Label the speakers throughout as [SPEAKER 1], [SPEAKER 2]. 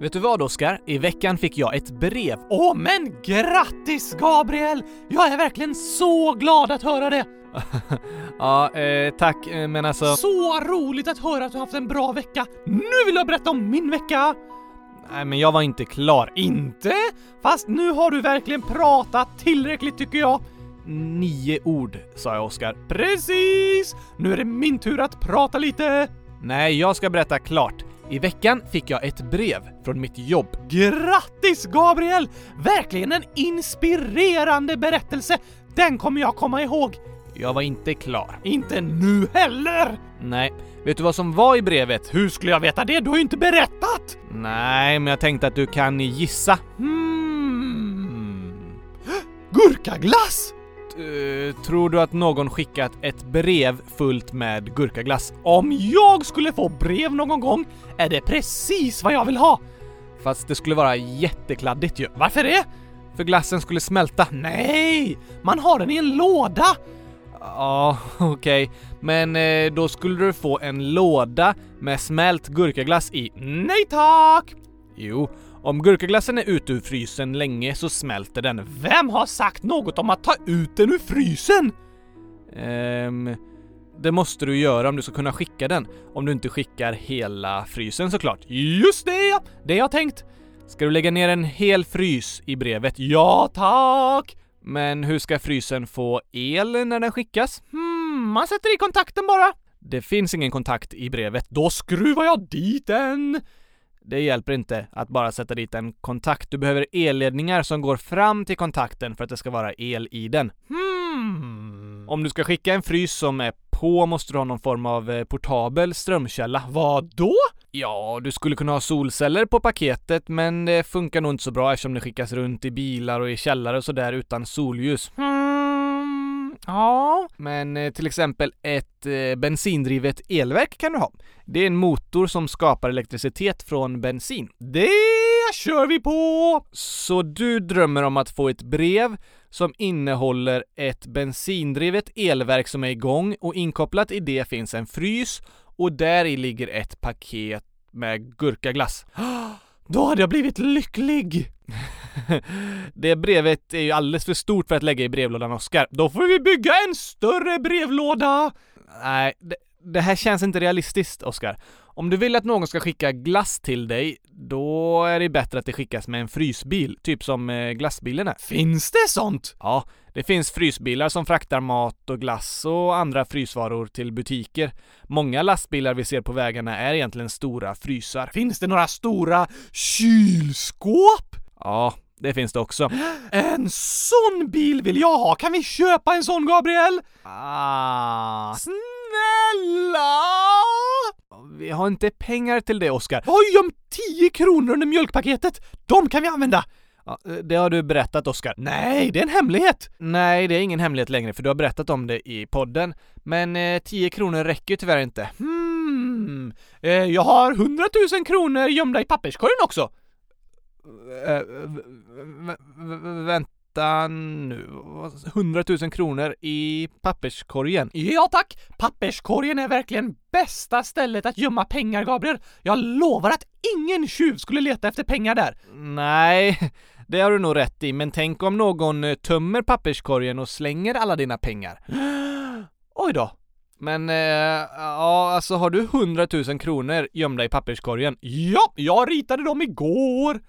[SPEAKER 1] Vet du vad Oskar? I veckan fick jag ett brev. Åh men grattis Gabriel! Jag är verkligen så glad att höra det! ja, eh, tack eh, men alltså... Så roligt att höra att du haft en bra vecka! Nu vill jag berätta om min vecka! Nej men jag var inte klar. Inte? Fast nu har du verkligen pratat tillräckligt tycker jag. Nio ord, sa jag Oskar. Precis! Nu är det min tur att prata lite! Nej, jag ska berätta klart. I veckan fick jag ett brev från mitt jobb. Grattis Gabriel! Verkligen en inspirerande berättelse! Den kommer jag komma ihåg. Jag var inte klar. Inte nu heller! Nej. Vet du vad som var i brevet? Hur skulle jag veta det? Du har ju inte berättat! Nej, men jag tänkte att du kan gissa. Hmm. Gurkaglass! Eh, tror du att någon skickat ett brev fullt med gurkaglass? Om jag skulle få brev någon gång är det precis vad jag vill ha! Fast det skulle vara jättekladdigt ju. Varför det? För glassen skulle smälta. Nej! Man har den i en låda! Ja, okej. Men eh, då skulle du få en låda med smält gurkaglass i. Nej tack! Jo, om gurkaglassen är ute ur frysen länge så smälter den. Vem har sagt något om att ta ut den ur frysen? Ehm, det måste du göra om du ska kunna skicka den. Om du inte skickar hela frysen såklart. Just det! Det jag tänkt. Ska du lägga ner en hel frys i brevet? Ja, tack! Men hur ska frysen få el när den skickas? Hmm, man sätter i kontakten bara. Det finns ingen kontakt i brevet. Då skruvar jag dit den! Det hjälper inte att bara sätta dit en kontakt. Du behöver elledningar som går fram till kontakten för att det ska vara el i den. Hmm. Om du ska skicka en frys som är på måste du ha någon form av eh, portabel strömkälla. Vad då? Ja, du skulle kunna ha solceller på paketet, men det funkar nog inte så bra eftersom det skickas runt i bilar och i källare och sådär utan solljus. Hmm. Ja, men eh, till exempel ett eh, bensindrivet elverk kan du ha. Det är en motor som skapar elektricitet från bensin. Det kör vi på! Så du drömmer om att få ett brev som innehåller ett bensindrivet elverk som är igång och inkopplat i det finns en frys och där i ligger ett paket med gurkaglass. Då hade jag blivit lycklig! det brevet är ju alldeles för stort för att lägga i brevlådan, Oskar. Då får vi bygga en större brevlåda! Nej, det, det här känns inte realistiskt, Oskar. Om du vill att någon ska skicka glass till dig, då är det bättre att det skickas med en frysbil, typ som eh, glassbilen är. Finns det sånt? Ja, det finns frysbilar som fraktar mat och glass och andra frysvaror till butiker. Många lastbilar vi ser på vägarna är egentligen stora frysar. Finns det några stora kylskåp? Ja, det finns det också. En sån bil vill jag ha! Kan vi köpa en sån, Gabriel? Ah. Snälla! Vi har inte pengar till det, Oskar. Jag har ju gömt 10 kronor under mjölkpaketet! De kan vi använda! Ja, eh, det har du berättat, Oskar. Nej, det är en hemlighet! Nej, det är ingen hemlighet längre, för du har berättat om det i podden. Men eh, 10 kronor räcker ju tyvärr inte. Hmm. Eh, jag har 100 000 kronor gömda i papperskorgen också! Eh, v- v- v- vänta nu. Vad- 100 000 kronor i papperskorgen. Ja tack! Papperskorgen är verkligen bästa stället att gömma pengar, Gabriel. Jag lovar att ingen tjuv skulle leta efter pengar där. Nej, det har du nog rätt i, men tänk om någon eh, tömmer papperskorgen och slänger alla dina pengar. Oj då. Men, eh, ja, alltså har du 100 000 kronor gömda i papperskorgen? Ja, jag ritade dem igår!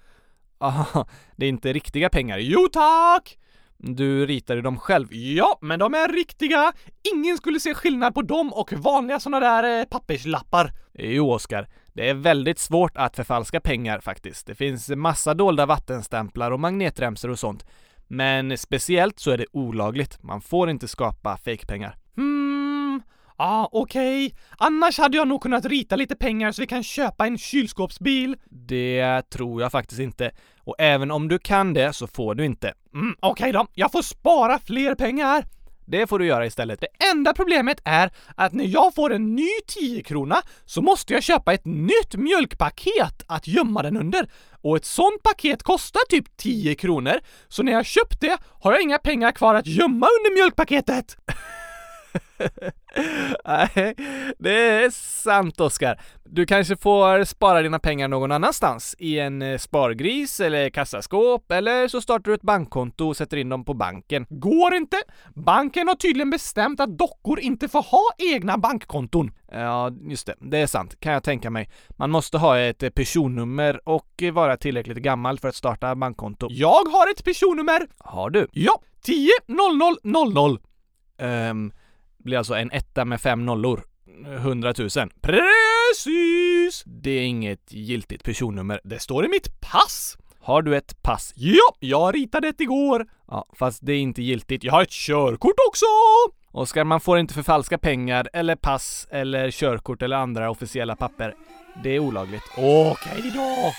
[SPEAKER 1] Aha, det är inte riktiga pengar. Jo tack! Du ritade dem själv. Ja, men de är riktiga! Ingen skulle se skillnad på dem och vanliga såna där eh, papperslappar. Jo, Oskar. Det är väldigt svårt att förfalska pengar faktiskt. Det finns massa dolda vattenstämplar och magnetremsor och sånt. Men speciellt så är det olagligt. Man får inte skapa fejkpengar. Hmm, Ja, ah, okej. Annars hade jag nog kunnat rita lite pengar så vi kan köpa en kylskåpsbil. Det tror jag faktiskt inte. Och även om du kan det så får du inte. Mm, okej då. Jag får spara fler pengar. Det får du göra istället. Det enda problemet är att när jag får en ny 10-krona så måste jag köpa ett nytt mjölkpaket att gömma den under. Och ett sånt paket kostar typ 10 kronor, så när jag köpt det har jag inga pengar kvar att gömma under mjölkpaketet. Nej, det är sant Oskar. Du kanske får spara dina pengar någon annanstans. I en eh, spargris eller kassaskåp eller så startar du ett bankkonto och sätter in dem på banken. Går inte! Banken har tydligen bestämt att dockor inte får ha egna bankkonton. Ja, just det. Det är sant, kan jag tänka mig. Man måste ha ett eh, personnummer och eh, vara tillräckligt gammal för att starta bankkonto. Jag har ett personnummer! Har du? Ja! 10 00 00. Ehm, blir alltså en etta med fem nollor. 100 000. Precis! Det är inget giltigt personnummer. Det står i mitt pass! Har du ett pass? Ja, jag ritade ett igår! Ja, fast det är inte giltigt. Jag har ett körkort också! Oskar, man får inte förfalska pengar eller pass eller körkort eller andra officiella papper. Det är olagligt. Okej då!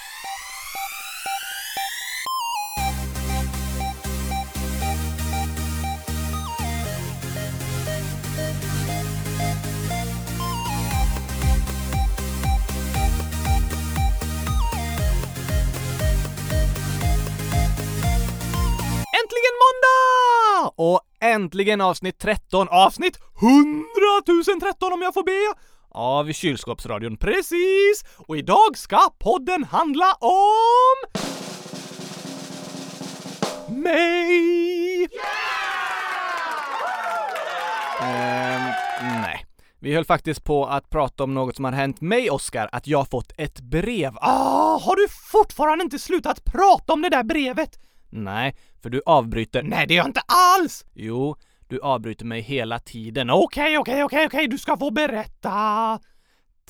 [SPEAKER 1] Äntligen måndag! Och äntligen avsnitt 13, avsnitt 100 013 om jag får be! Av kylskåpsradion, precis! Och idag ska podden handla om... Mig! Ehm, nej. Vi höll faktiskt på att prata om något som har hänt mig, Oscar, att jag fått ett brev. Ah, har du fortfarande inte slutat prata om det där brevet? Nej, för du avbryter. Nej, det gör jag inte alls! Jo, du avbryter mig hela tiden. Okej, okej, okej, okej, du ska få berätta!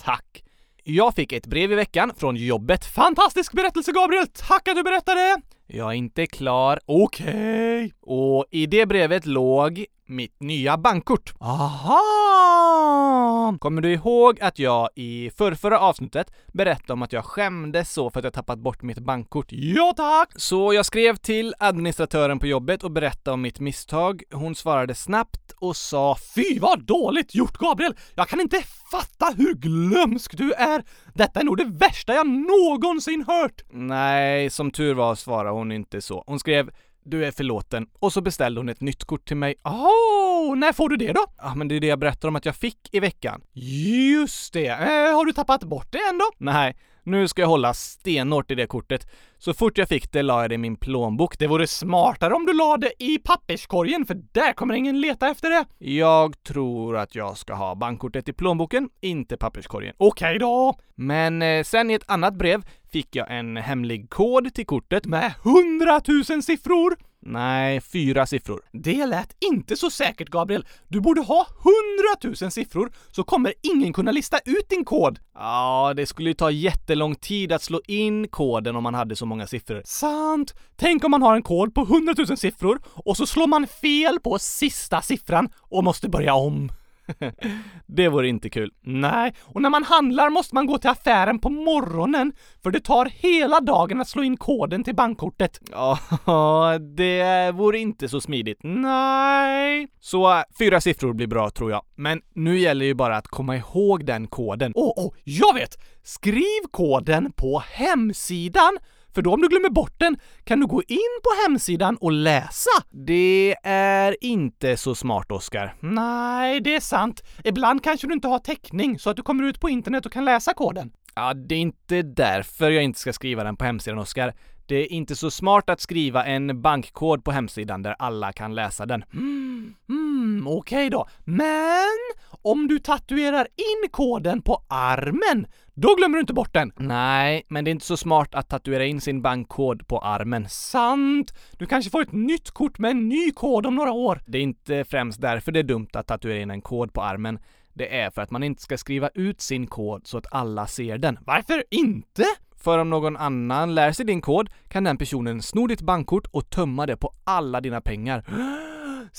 [SPEAKER 1] Tack. Jag fick ett brev i veckan från jobbet. Fantastisk berättelse Gabriel! Tack att du berättade! Jag är inte klar. Okej. Och i det brevet låg mitt nya bankkort. Aha! Kommer du ihåg att jag i förrförra avsnittet berättade om att jag skämdes så för att jag tappat bort mitt bankkort? Ja tack! Så jag skrev till administratören på jobbet och berättade om mitt misstag. Hon svarade snabbt och sa Fy vad dåligt gjort Gabriel! Jag kan inte fatta hur glömsk du är! Detta är nog det värsta jag någonsin hört! Nej, som tur var svarade hon inte så. Hon skrev du är förlåten. Och så beställde hon ett nytt kort till mig. Åh, när får du det då? Ja, men det är det jag berättar om att jag fick i veckan. Just det! Eh, har du tappat bort det ändå? Nej, nu ska jag hålla stenhårt i det kortet. Så fort jag fick det la jag det i min plånbok. Det vore smartare om du la det i papperskorgen, för där kommer ingen leta efter det. Jag tror att jag ska ha bankkortet i plånboken, inte papperskorgen. Okej då! Men eh, sen i ett annat brev fick jag en hemlig kod till kortet med 100 000 siffror! Nej, fyra siffror. Det lät inte så säkert, Gabriel. Du borde ha 100 000 siffror så kommer ingen kunna lista ut din kod. Ja, det skulle ju ta jättelång tid att slå in koden om man hade så många siffror. Sant! Tänk om man har en kod på 100 000 siffror och så slår man fel på sista siffran och måste börja om. det vore inte kul. Nej, och när man handlar måste man gå till affären på morgonen för det tar hela dagen att slå in koden till bankkortet. Ja, det vore inte så smidigt. Nej. Så äh, fyra siffror blir bra tror jag. Men nu gäller ju bara att komma ihåg den koden. Åh, oh, oh, jag vet! Skriv koden på hemsidan för då om du glömmer bort den kan du gå in på hemsidan och läsa. Det är inte så smart, Oskar. Nej, det är sant. Ibland kanske du inte har täckning så att du kommer ut på internet och kan läsa koden. Ja, det är inte därför jag inte ska skriva den på hemsidan, Oskar. Det är inte så smart att skriva en bankkod på hemsidan där alla kan läsa den. Mm, mm, okej då. Men om du tatuerar in koden på armen, då glömmer du inte bort den. Nej, men det är inte så smart att tatuera in sin bankkod på armen. Sant! Du kanske får ett nytt kort med en ny kod om några år. Det är inte främst därför det är dumt att tatuera in en kod på armen. Det är för att man inte ska skriva ut sin kod så att alla ser den. Varför inte? För om någon annan lär sig din kod kan den personen sno ditt bankkort och tömma det på alla dina pengar.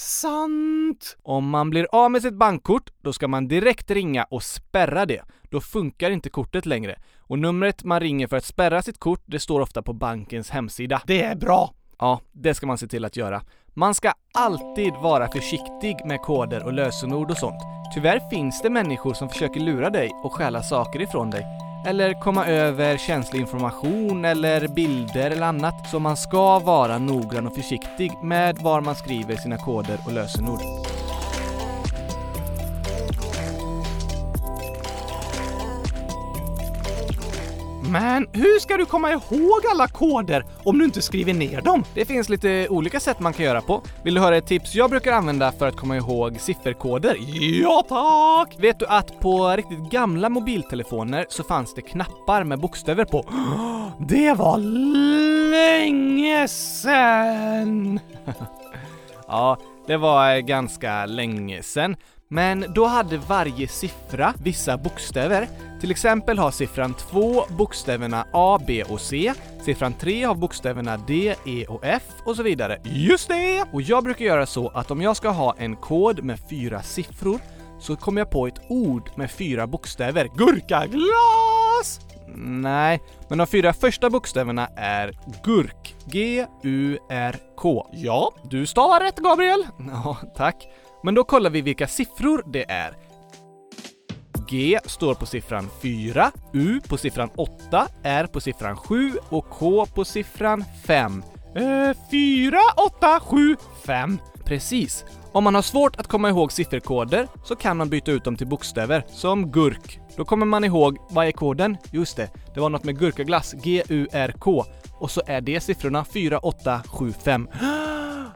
[SPEAKER 1] Sant! Om man blir av med sitt bankkort, då ska man direkt ringa och spärra det. Då funkar inte kortet längre. Och numret man ringer för att spärra sitt kort, det står ofta på bankens hemsida. Det är bra! Ja, det ska man se till att göra. Man ska alltid vara försiktig med koder och lösenord och sånt. Tyvärr finns det människor som försöker lura dig och stjäla saker ifrån dig. Eller komma över känslig information eller bilder eller annat. Så man ska vara noggrann och försiktig med var man skriver sina koder och lösenord. Men hur ska du komma ihåg alla koder om du inte skriver ner dem? Det finns lite olika sätt man kan göra på. Vill du höra ett tips jag brukar använda för att komma ihåg sifferkoder? Ja tack! Vet du att på riktigt gamla mobiltelefoner så fanns det knappar med bokstäver på? Det var länge sedan! Ja, det var eh, ganska länge sedan. Men då hade varje siffra vissa bokstäver. Till exempel har siffran 2 bokstäverna A, B och C. Siffran 3 har bokstäverna D, E och F och så vidare. Just det! Och jag brukar göra så att om jag ska ha en kod med fyra siffror så kommer jag på ett ord med fyra bokstäver. Gurkaglas! Nej, men de fyra första bokstäverna är GURK. G-U-R-K. Ja, du stavar rätt Gabriel! Ja, tack. Men då kollar vi vilka siffror det är. G står på siffran 4, U på siffran 8, R på siffran 7 och K på siffran 5. Eh, 4, 8, 7, 5. Precis. Om man har svårt att komma ihåg sifferkoder så kan man byta ut dem till bokstäver, som GURK. Då kommer man ihåg, vad är koden? Just det, det var något med gurkaglass, G-U-R-K. Och så är det siffrorna 4, 8, 7, 5.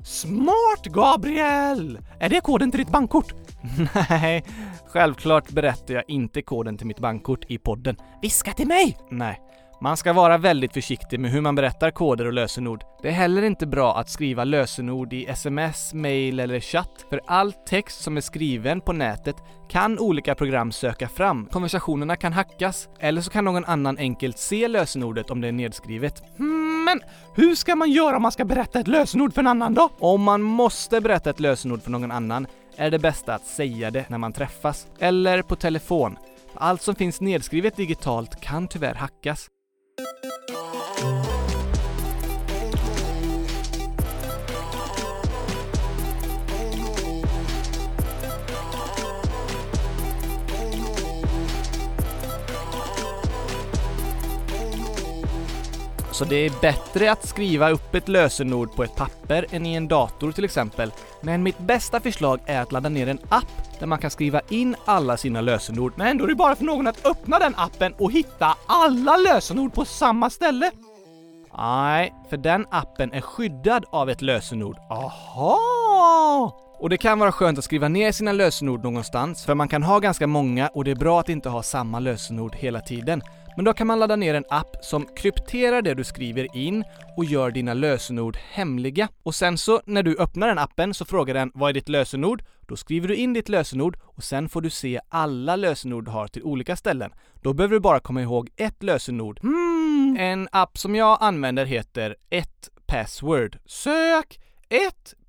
[SPEAKER 1] Smart Gabriel! Är det koden till ditt bankkort? Nej, självklart berättar jag inte koden till mitt bankkort i podden. Viska till mig! Nej. Man ska vara väldigt försiktig med hur man berättar koder och lösenord. Det är heller inte bra att skriva lösenord i sms, mail eller chatt, för all text som är skriven på nätet kan olika program söka fram. Konversationerna kan hackas, eller så kan någon annan enkelt se lösenordet om det är nedskrivet. Hmm, Men hur ska man göra om man ska berätta ett lösenord för en annan då? Om man måste berätta ett lösenord för någon annan är det bästa att säga det när man träffas, eller på telefon. Allt som finns nedskrivet digitalt kan tyvärr hackas. Så det är bättre att skriva upp ett lösenord på ett papper än i en dator till exempel. Men mitt bästa förslag är att ladda ner en app där man kan skriva in alla sina lösenord. Men då är det bara för någon att öppna den appen och hitta alla lösenord på samma ställe. Nej, för den appen är skyddad av ett lösenord. Aha! Och det kan vara skönt att skriva ner sina lösenord någonstans, för man kan ha ganska många och det är bra att inte ha samma lösenord hela tiden. Men då kan man ladda ner en app som krypterar det du skriver in och gör dina lösenord hemliga. Och sen så, när du öppnar den appen så frågar den “Vad är ditt lösenord?” Då skriver du in ditt lösenord och sen får du se alla lösenord du har till olika ställen. Då behöver du bara komma ihåg ett lösenord. Mm. En app som jag använder heter 1Password. Sök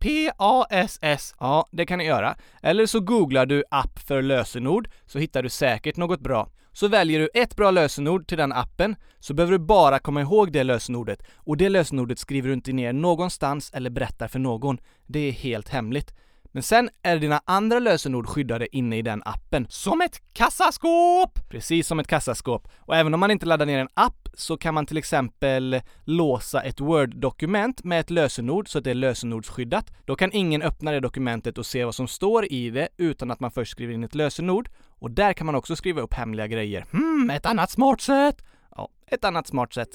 [SPEAKER 1] 1PASS. Ja, det kan ni göra. Eller så googlar du app för lösenord så hittar du säkert något bra. Så väljer du ett bra lösenord till den appen så behöver du bara komma ihåg det lösenordet och det lösenordet skriver du inte ner någonstans eller berättar för någon. Det är helt hemligt. Men sen är dina andra lösenord skyddade inne i den appen. Som ett kassaskåp! Precis som ett kassaskåp. Och även om man inte laddar ner en app så kan man till exempel låsa ett Word-dokument med ett lösenord så att det är lösenordsskyddat. Då kan ingen öppna det dokumentet och se vad som står i det utan att man först skriver in ett lösenord. Och där kan man också skriva upp hemliga grejer. Hmm, ett annat smart sätt! Ja, ett annat smart sätt.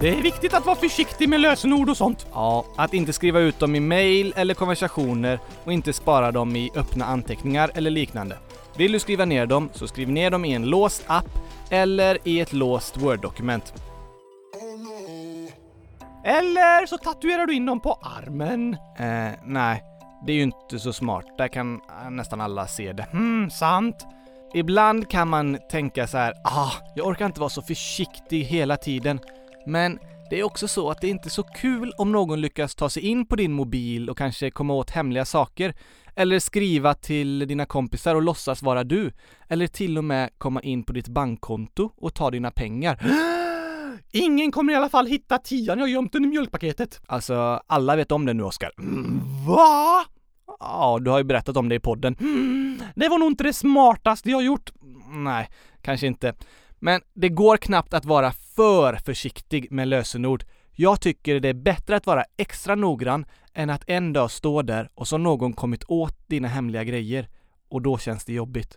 [SPEAKER 1] Det är viktigt att vara försiktig med lösenord och sånt. Ja, att inte skriva ut dem i mail eller konversationer och inte spara dem i öppna anteckningar eller liknande. Vill du skriva ner dem så skriv ner dem i en låst app eller i ett låst Word-dokument. Eller så tatuerar du in dem på armen. Eh, nej. Det är ju inte så smart. Där kan eh, nästan alla se det. Hmm, sant. Ibland kan man tänka så här, ah, jag orkar inte vara så försiktig hela tiden. Men det är också så att det är inte är så kul om någon lyckas ta sig in på din mobil och kanske komma åt hemliga saker. Eller skriva till dina kompisar och låtsas vara du. Eller till och med komma in på ditt bankkonto och ta dina pengar. Ingen kommer i alla fall hitta tian jag gömt under mjölkpaketet. Alltså, alla vet om det nu, Oskar. Va? Mm, Ja, du har ju berättat om det i podden. Det var nog inte det smartaste jag gjort. Nej, kanske inte. Men det går knappt att vara för försiktig med lösenord. Jag tycker det är bättre att vara extra noggrann än att en dag stå där och så har någon kommit åt dina hemliga grejer. Och då känns det jobbigt.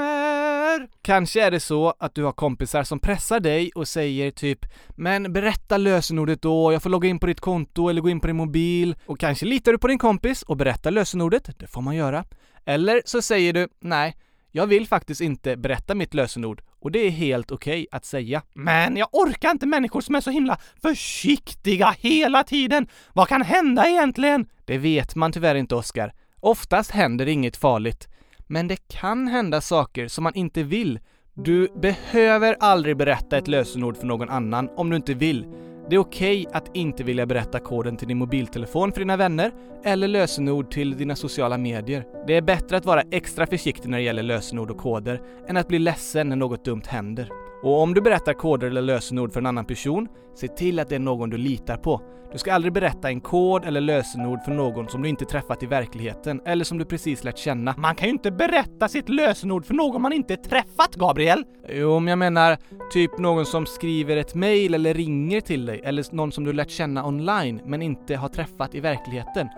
[SPEAKER 1] Stämmer! Kanske är det så att du har kompisar som pressar dig och säger typ “Men berätta lösenordet då, jag får logga in på ditt konto eller gå in på din mobil” och kanske litar du på din kompis och berättar lösenordet, det får man göra. Eller så säger du “Nej, jag vill faktiskt inte berätta mitt lösenord och det är helt okej att säga. Men jag orkar inte människor som är så himla försiktiga hela tiden. Vad kan hända egentligen? Det vet man tyvärr inte, Oskar. Oftast händer inget farligt. Men det kan hända saker som man inte vill. Du behöver aldrig berätta ett lösenord för någon annan om du inte vill. Det är okej att inte vilja berätta koden till din mobiltelefon för dina vänner eller lösenord till dina sociala medier. Det är bättre att vara extra försiktig när det gäller lösenord och koder än att bli ledsen när något dumt händer. Och om du berättar koder eller lösenord för en annan person, se till att det är någon du litar på. Du ska aldrig berätta en kod eller lösenord för någon som du inte träffat i verkligheten eller som du precis lärt känna. Man kan ju inte berätta sitt lösenord för någon man inte träffat, Gabriel! Jo, men jag menar typ någon som skriver ett mejl eller ringer till dig eller någon som du lärt känna online men inte har träffat i verkligheten.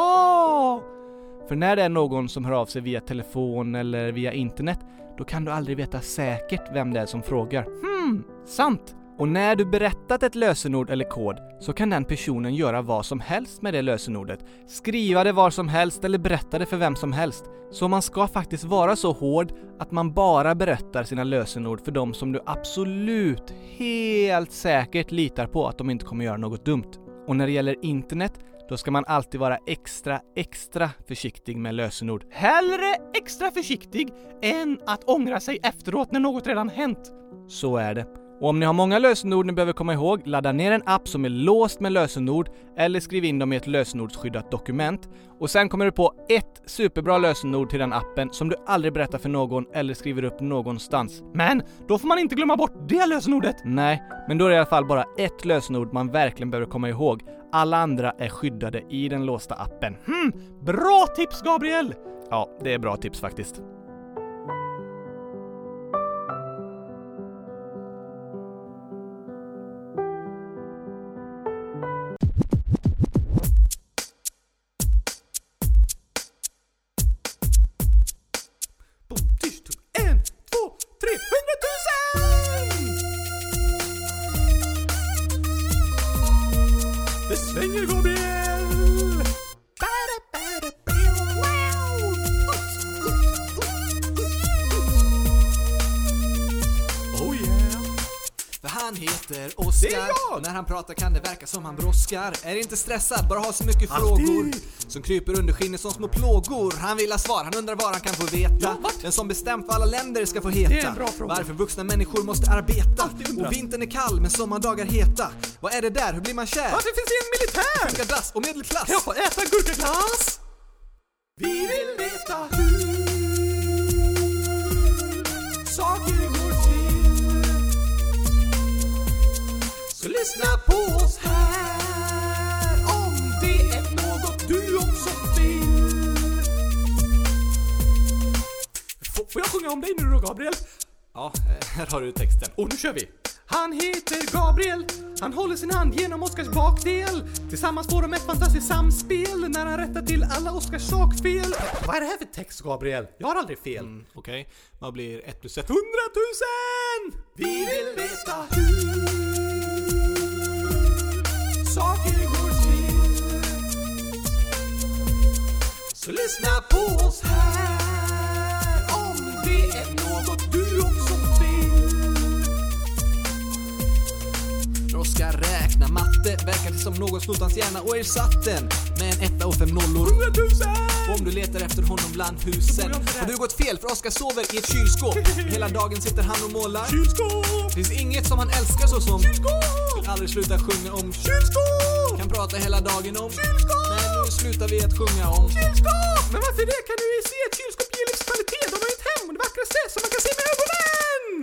[SPEAKER 1] Aha! För när det är någon som hör av sig via telefon eller via internet, då kan du aldrig veta säkert vem det är som frågar. Hmm, sant! Och när du berättat ett lösenord eller kod så kan den personen göra vad som helst med det lösenordet. Skriva det var som helst eller berätta det för vem som helst. Så man ska faktiskt vara så hård att man bara berättar sina lösenord för de som du absolut, helt säkert litar på att de inte kommer göra något dumt. Och när det gäller internet då ska man alltid vara extra, extra försiktig med lösenord. Hellre extra försiktig än att ångra sig efteråt när något redan hänt. Så är det. Och om ni har många lösenord ni behöver komma ihåg, ladda ner en app som är låst med lösenord eller skriv in dem i ett lösenordsskyddat dokument. Och sen kommer du på ett superbra lösenord till den appen som du aldrig berättar för någon eller skriver upp någonstans. Men då får man inte glömma bort det lösenordet! Nej, men då är det i alla fall bara ett lösenord man verkligen behöver komma ihåg. Alla andra är skyddade i den låsta appen. Hmm, bra tips Gabriel! Ja, det är bra tips faktiskt. En, två, tre, hundratusen! Det svänger Gabriel!
[SPEAKER 2] Oh yeah. För han heter Oscar.
[SPEAKER 1] Det är jag!
[SPEAKER 2] När han pratar kan det verka som han brådskar. Är inte stressad, bara har så mycket
[SPEAKER 1] Alltid.
[SPEAKER 2] frågor. Som kryper under skinnet som små plågor. Han vill ha svar, han undrar vad han kan få veta.
[SPEAKER 1] Ja, vart?
[SPEAKER 2] Den som bestämt vad alla länder ska få
[SPEAKER 1] Det är
[SPEAKER 2] heta.
[SPEAKER 1] en bra fråga.
[SPEAKER 2] Varför vuxna människor måste arbeta.
[SPEAKER 1] Alltid undrat.
[SPEAKER 2] Och vintern är kall men sommardagar heta. Vad är det där, hur blir man kär?
[SPEAKER 1] Varför finns det en militär?
[SPEAKER 2] Ska dass och medelklass.
[SPEAKER 1] Kan jag få äta gurkaglass?
[SPEAKER 2] Vi vill veta hur saker går till. Så lyssna på oss här om det är något du också vill.
[SPEAKER 1] F- Får jag sjunga om dig nu då Gabriel?
[SPEAKER 2] Ja, eh, här har du texten.
[SPEAKER 1] Och nu kör vi! Han heter Gabriel, han håller sin hand genom Oscars bakdel. Tillsammans får de ett fantastiskt samspel när han rättar till alla Oscars sakfel. Vad är det här för text Gabriel? Jag har aldrig fel.
[SPEAKER 2] Mm, Okej, vad blir 1 plus 1?
[SPEAKER 1] Hundratusen!
[SPEAKER 2] Vi vill veta hur saker går till. Så lyssna på oss här om det är något du också vill. Oskar räkna matte verkar det som någon snott hans hjärna och ersatt den med en etta och fem nollor. Och om du letar efter honom bland husen har du gått fel för Oskar sover i ett kylskåp. Hela dagen sitter han och målar.
[SPEAKER 1] Kylskåp!
[SPEAKER 2] Finns inget som han älskar så som
[SPEAKER 1] Kylskåp!
[SPEAKER 2] aldrig slutar sjunga om
[SPEAKER 1] Kylskåp!
[SPEAKER 2] Kan prata hela dagen om
[SPEAKER 1] Kylskåp!
[SPEAKER 2] Men nu slutar vi att sjunga om
[SPEAKER 1] Kylskåp! Men varför det? Kan du ju se ett kylskåp ger livskvalitet. De har ju ett hem och det vackraste som man kan se med ögonen!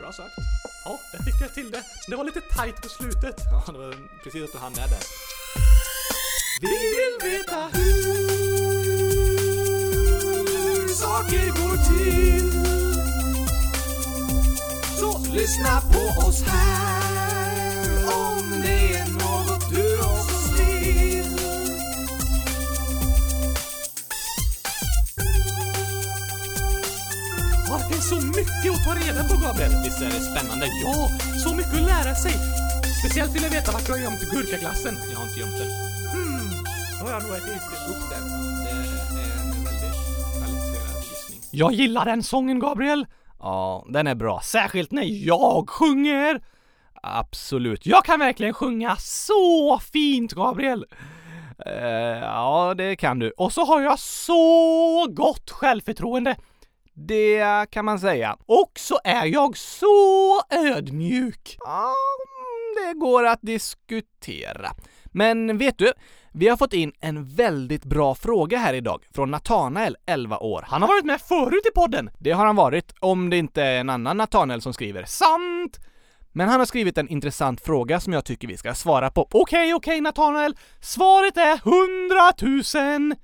[SPEAKER 2] Bra sagt
[SPEAKER 1] Ja, där fick jag till det. Det var lite tajt på slutet.
[SPEAKER 2] Ja, det var precis att du hann med där
[SPEAKER 1] Vi vill veta
[SPEAKER 2] Hur saker går till Lyssna på oss här om det är något du också vill.
[SPEAKER 1] Ja, det finns så mycket att ta reda på Gabriel! Visst är det spännande? Ja, så mycket att lära sig! Speciellt vill jag veta vart du har gömt gurkaglassen. Jag har inte gömt den. Hmm, då har jag nog ätit upp den.
[SPEAKER 2] Det är en väldigt kvalificerad gissning.
[SPEAKER 1] Jag gillar den sången Gabriel! Ja, den är bra. Särskilt när jag sjunger! Absolut. Jag kan verkligen sjunga så fint Gabriel! Eh, ja, det kan du. Och så har jag så gott självförtroende. Det kan man säga. Och så är jag så ödmjuk. Ja, mm, det går att diskutera. Men vet du? Vi har fått in en väldigt bra fråga här idag från Nathanael, 11 år. Han har varit med förut i podden! Det har han varit, om det inte är en annan Nathanael som skriver. Sant! Men han har skrivit en intressant fråga som jag tycker vi ska svara på. Okej, okej Nathanael! Svaret är 100 000!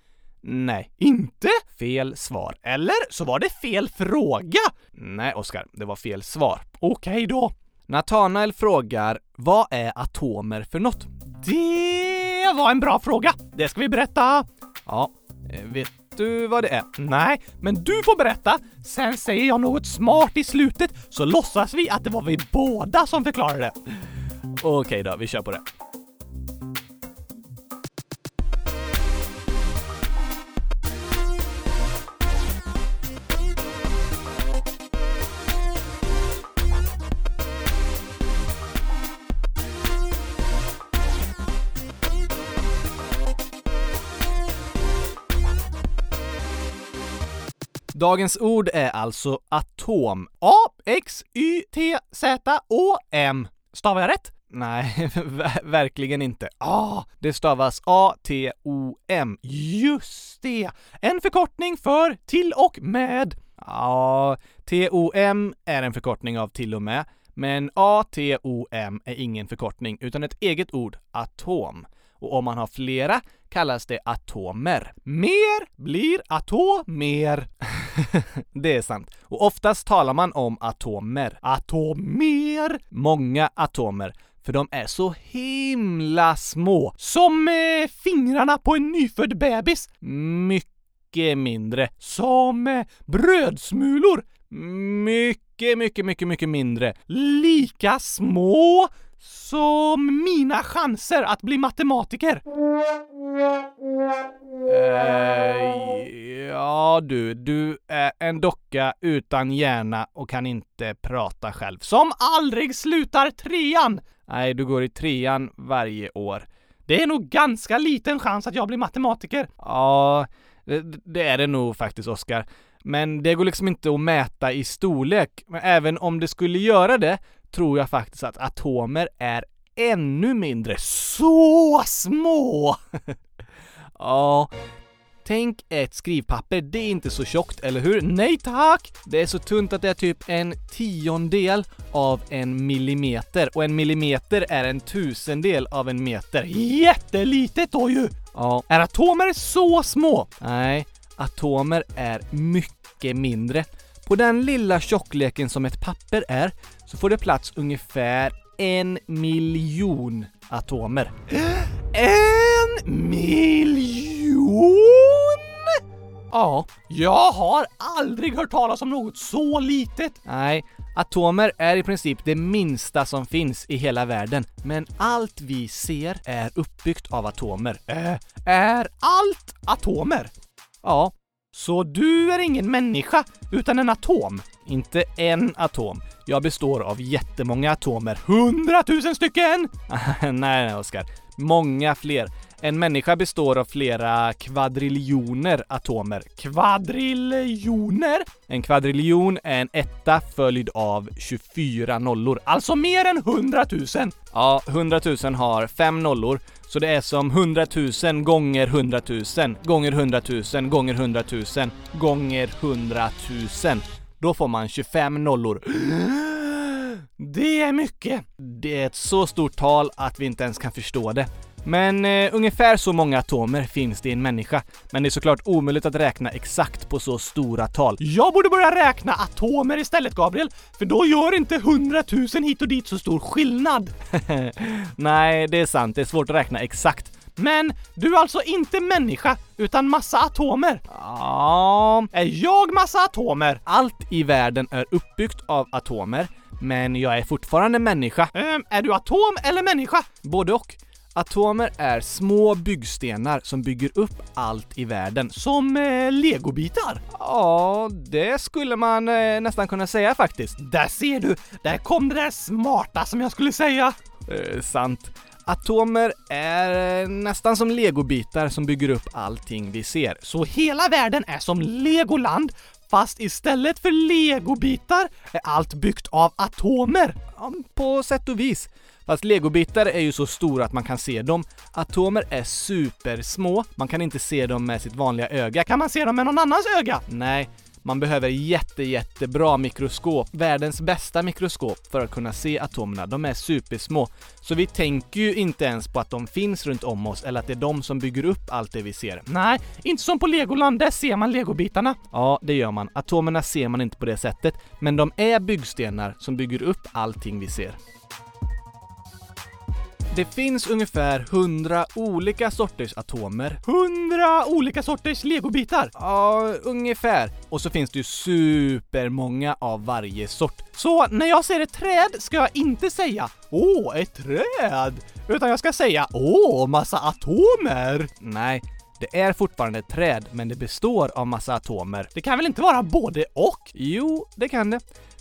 [SPEAKER 1] Nej, inte fel svar. Eller så var det fel fråga! Nej, Oskar, det var fel svar. Okej då. Nathanael frågar, vad är atomer för något? Det var en bra fråga! Det ska vi berätta! Ja, eh, vet du vad det är? Nej, men du får berätta. Sen säger jag något smart i slutet så låtsas vi att det var vi båda som förklarade det. Okej då, vi kör på det. Dagens ord är alltså atom. A, X, Y, T, Z, Å, M. Stavar jag rätt? Nej, ver- verkligen inte. Ah, det stavas A, T, O, M. Just det! En förkortning för till och med. Ja, T, O, M är en förkortning av till och med, men A, T, O, M är ingen förkortning utan ett eget ord, atom. Och om man har flera kallas det atomer. Mer blir atomer. det är sant. Och oftast talar man om atomer. Atomer! Många atomer. För de är så himla små. Som eh, fingrarna på en nyfödd bebis. Mycket mindre. Som eh, brödsmulor. Mycket, mycket, mycket, mycket mindre. Lika små som mina chanser att bli matematiker. Eh, ja du, du är en docka utan hjärna och kan inte prata själv. Som aldrig slutar trean! Nej, du går i trean varje år. Det är nog ganska liten chans att jag blir matematiker. Ja, det, det är det nog faktiskt, Oskar. Men det går liksom inte att mäta i storlek. Men även om det skulle göra det tror jag faktiskt att atomer är ännu mindre. Så små! ja, Tänk ett skrivpapper, det är inte så tjockt, eller hur? Nej tack! Det är så tunt att det är typ en tiondel av en millimeter och en millimeter är en tusendel av en meter. Jättelitet då ju! Ja. Är atomer så små? Nej, atomer är mycket mindre. På den lilla tjockleken som ett papper är så får det plats ungefär en miljon atomer. En miljon? Ja, jag har aldrig hört talas om något så litet. Nej, atomer är i princip det minsta som finns i hela världen. Men allt vi ser är uppbyggt av atomer. Eh, är allt atomer? Ja. Så du är ingen människa, utan en atom? Inte en atom. Jag består av jättemånga atomer. Hundratusen stycken! nej, nej, Oskar. Många fler. En människa består av flera kvadriljoner atomer. Kvadriljoner? En kvadriljon är en etta följd av 24 nollor, alltså mer än 100 000. Ja, 100 000 har fem nollor, så det är som 100 000 gånger 100 000 gånger 100 000 gånger 100 000 gånger 100 000. Då får man 25 nollor. Det är mycket! Det är ett så stort tal att vi inte ens kan förstå det. Men eh, ungefär så många atomer finns det i en människa. Men det är såklart omöjligt att räkna exakt på så stora tal. Jag borde börja räkna atomer istället, Gabriel. För då gör inte hundratusen hit och dit så stor skillnad. Nej, det är sant. Det är svårt att räkna exakt. Men du är alltså inte människa, utan massa atomer? Ja, är jag massa atomer? Allt i världen är uppbyggt av atomer, men jag är fortfarande människa. Ehm, är du atom eller människa? Både och. Atomer är små byggstenar som bygger upp allt i världen. Som eh, legobitar? Ja, det skulle man eh, nästan kunna säga faktiskt. Där ser du! Där kom det där smarta som jag skulle säga! Eh, sant. Atomer är eh, nästan som legobitar som bygger upp allting vi ser. Så hela världen är som legoland Fast istället för legobitar är allt byggt av atomer. Ja, På sätt och vis. Fast legobitar är ju så stora att man kan se dem. Atomer är supersmå. Man kan inte se dem med sitt vanliga öga. Kan man se dem med någon annans öga? Nej. Man behöver jätte, jättebra mikroskop, världens bästa mikroskop, för att kunna se atomerna. De är supersmå. Så vi tänker ju inte ens på att de finns runt om oss eller att det är de som bygger upp allt det vi ser. Nej, inte som på Legoland, där ser man legobitarna. Ja, det gör man. Atomerna ser man inte på det sättet, men de är byggstenar som bygger upp allting vi ser. Det finns ungefär 100 olika sorters atomer. 100 olika sorters legobitar? Ja, ungefär. Och så finns det ju supermånga av varje sort. Så när jag ser ett träd ska jag inte säga Åh, ett träd! Utan jag ska säga Åh, massa atomer! Nej, det är fortfarande ett träd, men det består av massa atomer. Det kan väl inte vara både och? Jo, det kan det.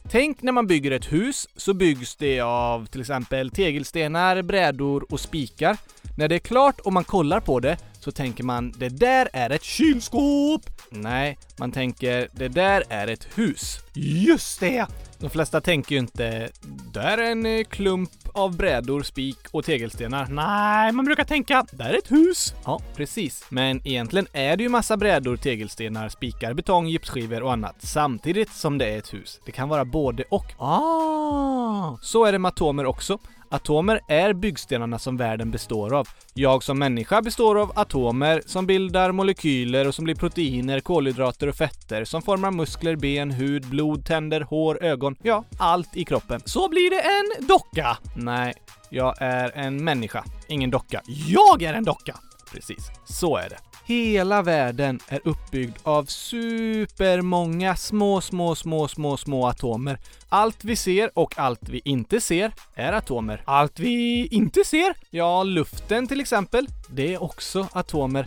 [SPEAKER 1] Tänk när man bygger ett hus så byggs det av till exempel tegelstenar, brädor och spikar. När det är klart och man kollar på det så tänker man det där är ett kylskåp! Nej, man tänker det där är ett hus. Just det! De flesta tänker ju inte där är en eh, klump av brädor, spik och tegelstenar. Nej, man brukar tänka där är ett hus. Ja, precis. Men egentligen är det ju massa brädor, tegelstenar, spikar, betong, gipsskivor och annat samtidigt som det är ett hus. Det kan vara både och. Ah! Så är det med atomer också. Atomer är byggstenarna som världen består av. Jag som människa består av atomer som bildar molekyler och som blir proteiner, kolhydrater och fetter som formar muskler, ben, hud, blod, tänder, hår, ögon, ja, allt i kroppen. Så blir det en docka! Nej, jag är en människa, ingen docka. Jag är en docka! Precis, så är det. Hela världen är uppbyggd av supermånga små, små, små, små, små atomer. Allt vi ser och allt vi inte ser är atomer. Allt vi inte ser? Ja, luften till exempel. Det är också atomer.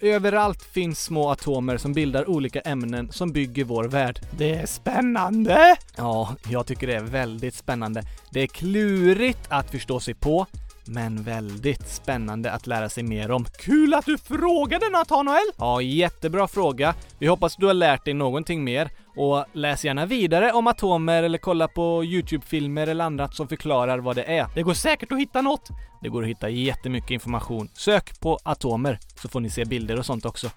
[SPEAKER 1] Överallt finns små atomer som bildar olika ämnen som bygger vår värld. Det är spännande! Ja, jag tycker det är väldigt spännande. Det är klurigt att förstå sig på, men väldigt spännande att lära sig mer om. Kul att du frågade Nathanael! Ja, jättebra fråga. Vi hoppas du har lärt dig någonting mer. Och läs gärna vidare om atomer eller kolla på YouTube-filmer eller annat som förklarar vad det är. Det går säkert att hitta något. Det går att hitta jättemycket information. Sök på atomer så får ni se bilder och sånt också.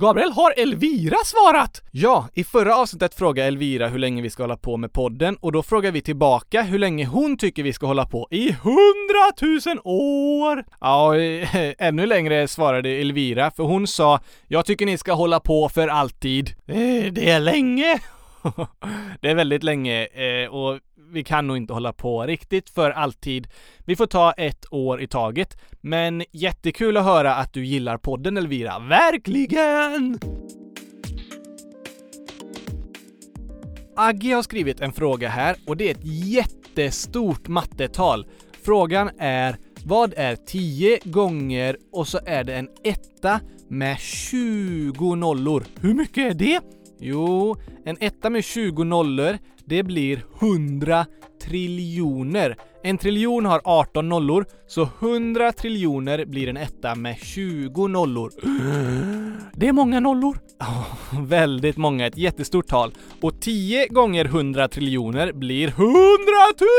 [SPEAKER 1] Gabriel, har Elvira svarat? Ja, i förra avsnittet frågade Elvira hur länge vi ska hålla på med podden och då frågar vi tillbaka hur länge hon tycker vi ska hålla på i hundratusen år! Ja, eh, ännu längre svarade Elvira för hon sa “Jag tycker ni ska hålla på för alltid”. Eh, Det är länge! Det är väldigt länge eh, och vi kan nog inte hålla på riktigt för alltid. Vi får ta ett år i taget. Men jättekul att höra att du gillar podden Elvira. Verkligen! Agge har skrivit en fråga här och det är ett jättestort mattetal. Frågan är vad är 10 gånger och så är det en etta med 20 nollor? Hur mycket är det? Jo, en etta med 20 nollor, det blir 100 triljoner. En triljon har 18 nollor, så 100 triljoner blir en etta med 20 nollor. Det är många nollor. Ja, väldigt många, ett jättestort tal. Och 10 gånger 100 triljoner blir 100 000!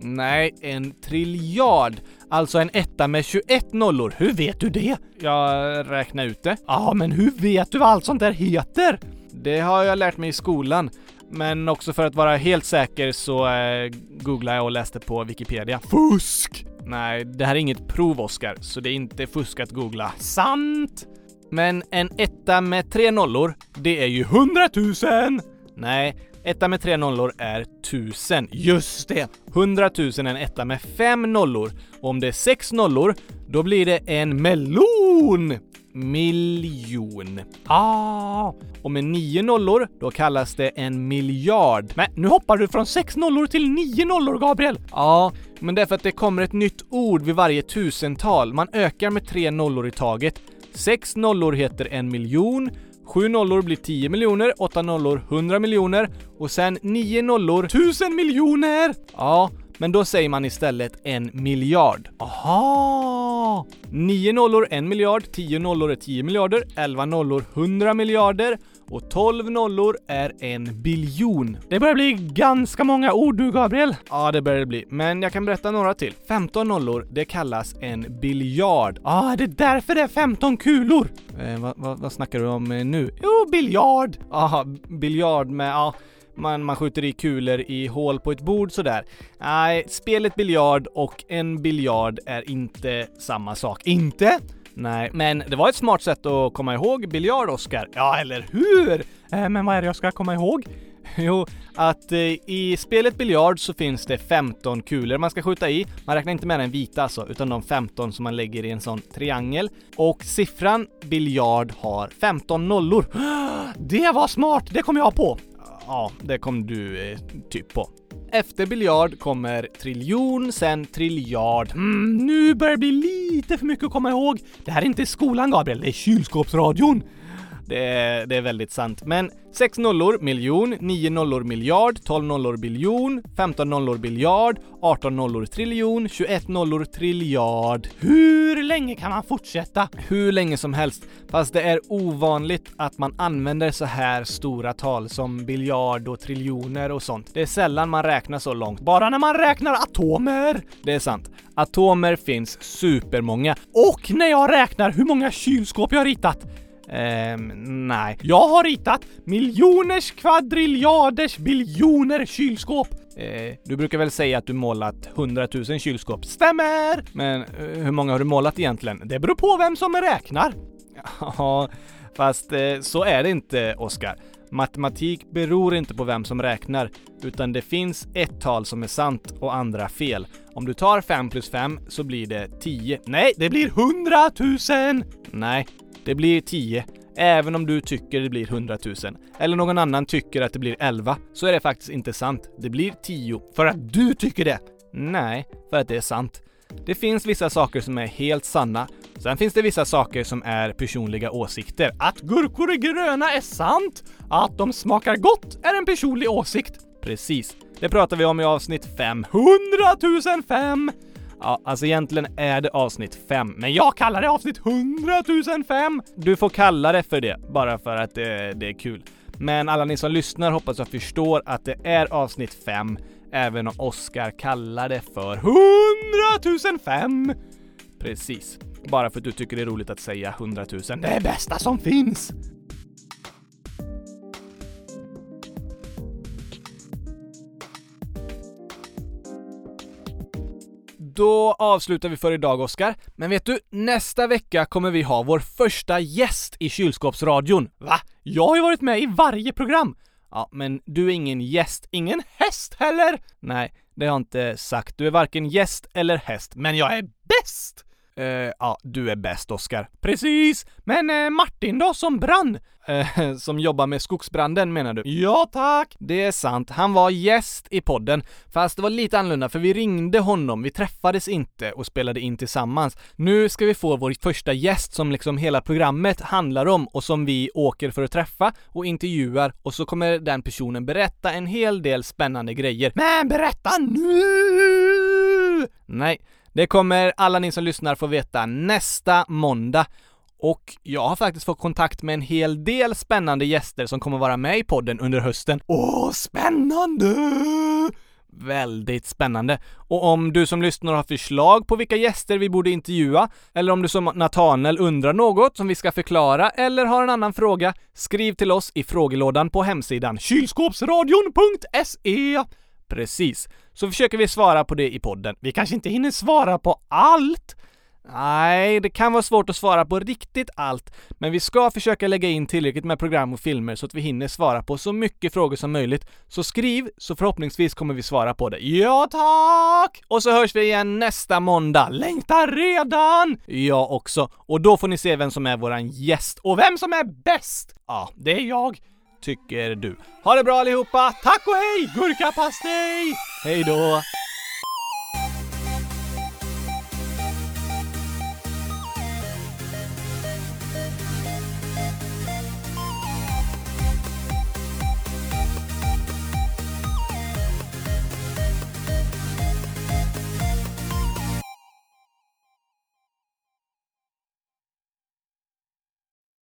[SPEAKER 1] Nej, en triljard. Alltså en etta med 21 nollor. Hur vet du det? Jag räknar ut det. Ja, men hur vet du vad allt sånt där heter? Det har jag lärt mig i skolan. Men också för att vara helt säker så eh, googlade jag och läste på Wikipedia. Fusk! Nej, det här är inget prov, Oscar, så det är inte fusk att googla. Sant! Men en etta med tre nollor, det är ju hundratusen! Nej, etta med tre nollor är tusen. Just det! Hundratusen är en etta med fem nollor. Och om det är sex nollor, då blir det en melon! Miljon. Ah! Och med nio nollor, då kallas det en miljard. Men nu hoppar du från sex nollor till nio nollor, Gabriel! Ja, men det är för att det kommer ett nytt ord vid varje tusental. Man ökar med tre nollor i taget. Sex nollor heter en miljon, sju nollor blir 10 miljoner, åtta nollor 100 miljoner och sen nio nollor 1000 miljoner! Ja, men då säger man istället en miljard. Aha! Nio nollor en miljard, tio nollor är 10 miljarder, elva nollor 100 miljarder och 12 nollor är en biljon. Det börjar bli ganska många ord du Gabriel. Ja, det börjar det bli. Men jag kan berätta några till. 15 nollor, det kallas en biljard. Ja, ah, det är därför det är 15 kulor. Eh, vad, vad, vad snackar du om eh, nu? Jo, biljard! Aha, biljard med, ja. Man, man skjuter i kulor i hål på ett bord sådär. Nej, spelet biljard och en biljard är inte samma sak. Inte? Nej, men det var ett smart sätt att komma ihåg biljard, Oskar. Ja, eller hur? Eh, men vad är det jag ska komma ihåg? Jo, att eh, i spelet biljard så finns det 15 kulor man ska skjuta i. Man räknar inte med den vita alltså, utan de 15 som man lägger i en sån triangel. Och siffran biljard har 15 nollor. Det var smart! Det kom jag på! Ja, det kom du eh, typ på. Efter biljard kommer triljon, sen triljard. Mm, nu börjar det bli lite för mycket att komma ihåg. Det här är inte skolan, Gabriel. Det är kylskåpsradion. Det är, det är väldigt sant. Men sex nollor miljon, nio nollor miljard, 12 nollor biljon, 15 nollor biljard, 18 nollor triljon, 21 nollor triljard. Hur länge kan man fortsätta? Hur länge som helst. Fast det är ovanligt att man använder så här stora tal som biljard och triljoner och sånt. Det är sällan man räknar så långt. Bara när man räknar atomer! Det är sant. Atomer finns supermånga. Och när jag räknar hur många kylskåp jag har ritat Ehm, nej. Jag har ritat miljoners, kvadriljarders, biljoner kylskåp! Eh, du brukar väl säga att du målat 100 000 kylskåp? Stämmer! Men eh, hur många har du målat egentligen? Det beror på vem som räknar. Ja, fast eh, så är det inte, Oskar. Matematik beror inte på vem som räknar, utan det finns ett tal som är sant och andra fel. Om du tar 5 plus 5 så blir det 10. Nej, det blir 100 000! Nej, det blir 10. Även om du tycker det blir 100 000, eller någon annan tycker att det blir 11, så är det faktiskt inte sant. Det blir 10. För att du tycker det! Nej, för att det är sant. Det finns vissa saker som är helt sanna. Sen finns det vissa saker som är personliga åsikter. Att gurkor är gröna är sant! Att de smakar gott är en personlig åsikt. Precis. Det pratar vi om i avsnitt 500 005! Ja, alltså egentligen är det avsnitt 5, men jag kallar det avsnitt 100 005! Du får kalla det för det, bara för att det, det är kul. Men alla ni som lyssnar hoppas jag förstår att det är avsnitt 5, även om Oscar kallar det för 100 005! Precis. Bara för att du tycker det är roligt att säga 100 000. Det är bästa som finns! Då avslutar vi för idag, Oskar. Men vet du, nästa vecka kommer vi ha vår första gäst i kylskåpsradion. Va? Jag har ju varit med i varje program! Ja, men du är ingen gäst, ingen häst heller! Nej, det har jag inte sagt. Du är varken gäst eller häst, men jag är bäst! Eh, ja, du är bäst Oskar. Precis! Men eh, Martin då, som brann? Eh, som jobbar med skogsbranden menar du? Ja tack! Det är sant, han var gäst i podden. Fast det var lite annorlunda för vi ringde honom, vi träffades inte och spelade in tillsammans. Nu ska vi få vår första gäst som liksom hela programmet handlar om och som vi åker för att träffa och intervjuar och så kommer den personen berätta en hel del spännande grejer. Men berätta nu! Nej, det kommer alla ni som lyssnar få veta nästa måndag. Och jag har faktiskt fått kontakt med en hel del spännande gäster som kommer vara med i podden under hösten. Åh, spännande! Väldigt spännande. Och om du som lyssnar har förslag på vilka gäster vi borde intervjua, eller om du som Nathaniel undrar något som vi ska förklara, eller har en annan fråga, skriv till oss i frågelådan på hemsidan kylskåpsradion.se. Precis. Så försöker vi svara på det i podden. Vi kanske inte hinner svara på allt, Nej, det kan vara svårt att svara på riktigt allt, men vi ska försöka lägga in tillräckligt med program och filmer så att vi hinner svara på så mycket frågor som möjligt. Så skriv, så förhoppningsvis kommer vi svara på det. Ja, tack! Och så hörs vi igen nästa måndag. Längtar redan! Jag också. Och då får ni se vem som är våran gäst och vem som är bäst! Ja, det är jag, tycker du. Ha det bra allihopa! Tack och hej! Gurkapastej! Hej då!